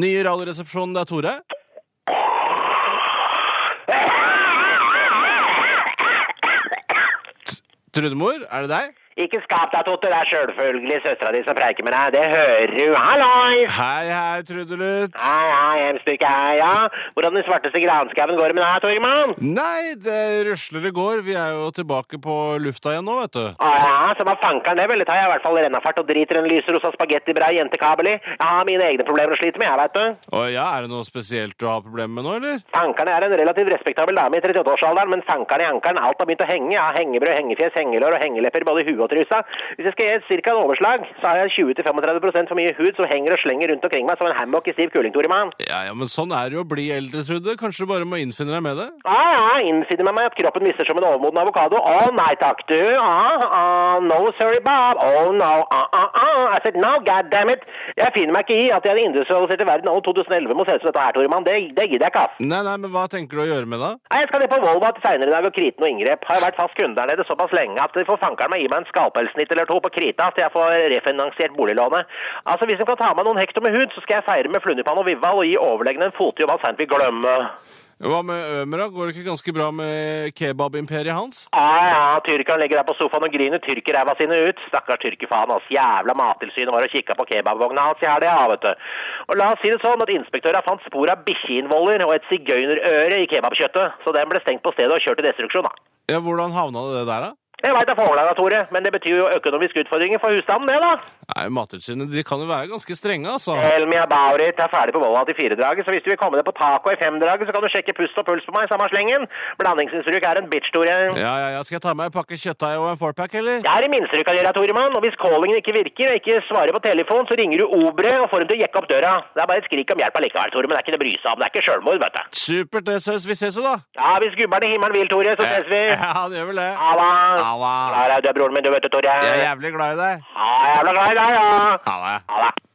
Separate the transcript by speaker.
Speaker 1: Nye Radioresepsjonen, det er Tore. T- Trudemor, er det deg?
Speaker 2: Ikke skap deg, Totte. Det er selvfølgelig søstera di som preiker med deg. Det hører du. Hallois!
Speaker 1: Hei, hei, Trudelutt.
Speaker 2: Hei, hei, hjemstykke, hei, ja. Hvordan den svarteste granskauen går det med deg, Torgmann?
Speaker 1: Nei, det rusler i går. Vi er jo tilbake på lufta igjen nå, vet du.
Speaker 2: Å ja, så hva fankeren det vel, det tar jeg i hvert fall rennafart og driter en lyserosa spagettibra jentekabel i. Jeg har mine egne problemer å slite med, jeg, vet du.
Speaker 1: Å ja, er det noe spesielt du har problemer med nå, eller?
Speaker 2: Fankeren er en relativt respektabel dame i 38-årsalderen, men fankeren i ankeren, alt har begynt å henge. Jeg har hengebrød, hengefjes, hengelår og hengelepper både i huet og trusa. Hvis jeg skal gi et cirka en overslag, så har jeg 20-35 prosent for mye hud som henger og slenger rundt omkring meg som en hammock i stiv kuling, Torgmann.
Speaker 1: Ja, ja, men sånn er det jo å bli eldre, Trude. Kanskje du bare må innfinne deg med det?
Speaker 2: Ah, ja, innsider med meg at kroppen mister som en overmoden avokado. Å nei takk, du. Ah, ah, no sorry, Bob. Oh no. Ah, ah, ah. I said no, god damn it. Jeg finner meg ikke i at jeg i den industrialiserte verden anno 2011 må se ut som dette her, Toremann. Det, det gidder jeg ikke, ass.
Speaker 1: Nei, nei, men hva tenker du å gjøre med det?
Speaker 2: Nei, Jeg skal ned på Volva til seinere i dag og krite noe inngrep. Har jo vært fast kunde der nede såpass lenge at de får fankeren meg gi meg en skalpelsnitt eller to på krita til jeg får refinansiert boliglånet. Altså, hvis de kan ta med noen hekto med hud, så skal jeg feire med flunnipann og Vival og gi overlegne en fotjobb han seint vil glemme.
Speaker 1: Hva med Ømer, da? Går det ikke ganske bra med kebabimperiet hans?
Speaker 2: Ja, ja, tyrkeren legger deg på sofaen og griner tyrkerræva sine ut. Stakkars tyrkerfaen, ass. Jævla mattilsynet var og kikka på kebabvogna hans i helga, ja, vet du. Og la oss si det sånn at inspektøra fant spor av bikkjeinnvoller og et sigøynerøre i kebabkjøttet, så den ble stengt på stedet og kjørt til destruksjon, da.
Speaker 1: Ja, Hvordan havna det der, da?
Speaker 2: Jeg veit det er forholdene, Tore, men det betyr jo økonomiske utfordringer for husstanden, det, da.
Speaker 1: Nei, Mattilsynet de kan jo være ganske strenge, altså.
Speaker 2: Tell me about it. Jeg er ferdig på Volva til firedraget, så hvis du vil komme deg på taco i femdraget, så kan du sjekke pust og puls på meg i samme slengen. Blandingsinnstrykk er en bitch, Tore.
Speaker 1: Ja, ja, ja. Skal jeg ta med en pakke kjøttdeig og en fourpack, eller?
Speaker 2: Det er det minste du kan gjøre, Toremann. Og hvis callingen ikke virker og ikke svarer på telefon, så ringer du Obre og får dem til å jekke opp døra. Det er bare et skrik om hjelp allikevel, Tore, men det er ikke det å bry seg om. Det er ikke sjølmord, vet du.
Speaker 1: Supert, det, Søs. Vi ses jo, da.
Speaker 2: Ja, hvis gubberen i himmelen vil, Tore, så ses vi.
Speaker 1: Ja, det gjør vel det.
Speaker 2: Halla.
Speaker 1: Halla.
Speaker 2: eh, Ja, du er broren min, du vet du, Tore.
Speaker 1: Jeg er
Speaker 2: Ja,
Speaker 1: jævlig glad i deg.
Speaker 2: jævla glad i deg, ja.
Speaker 1: Ha det.
Speaker 2: Ha det.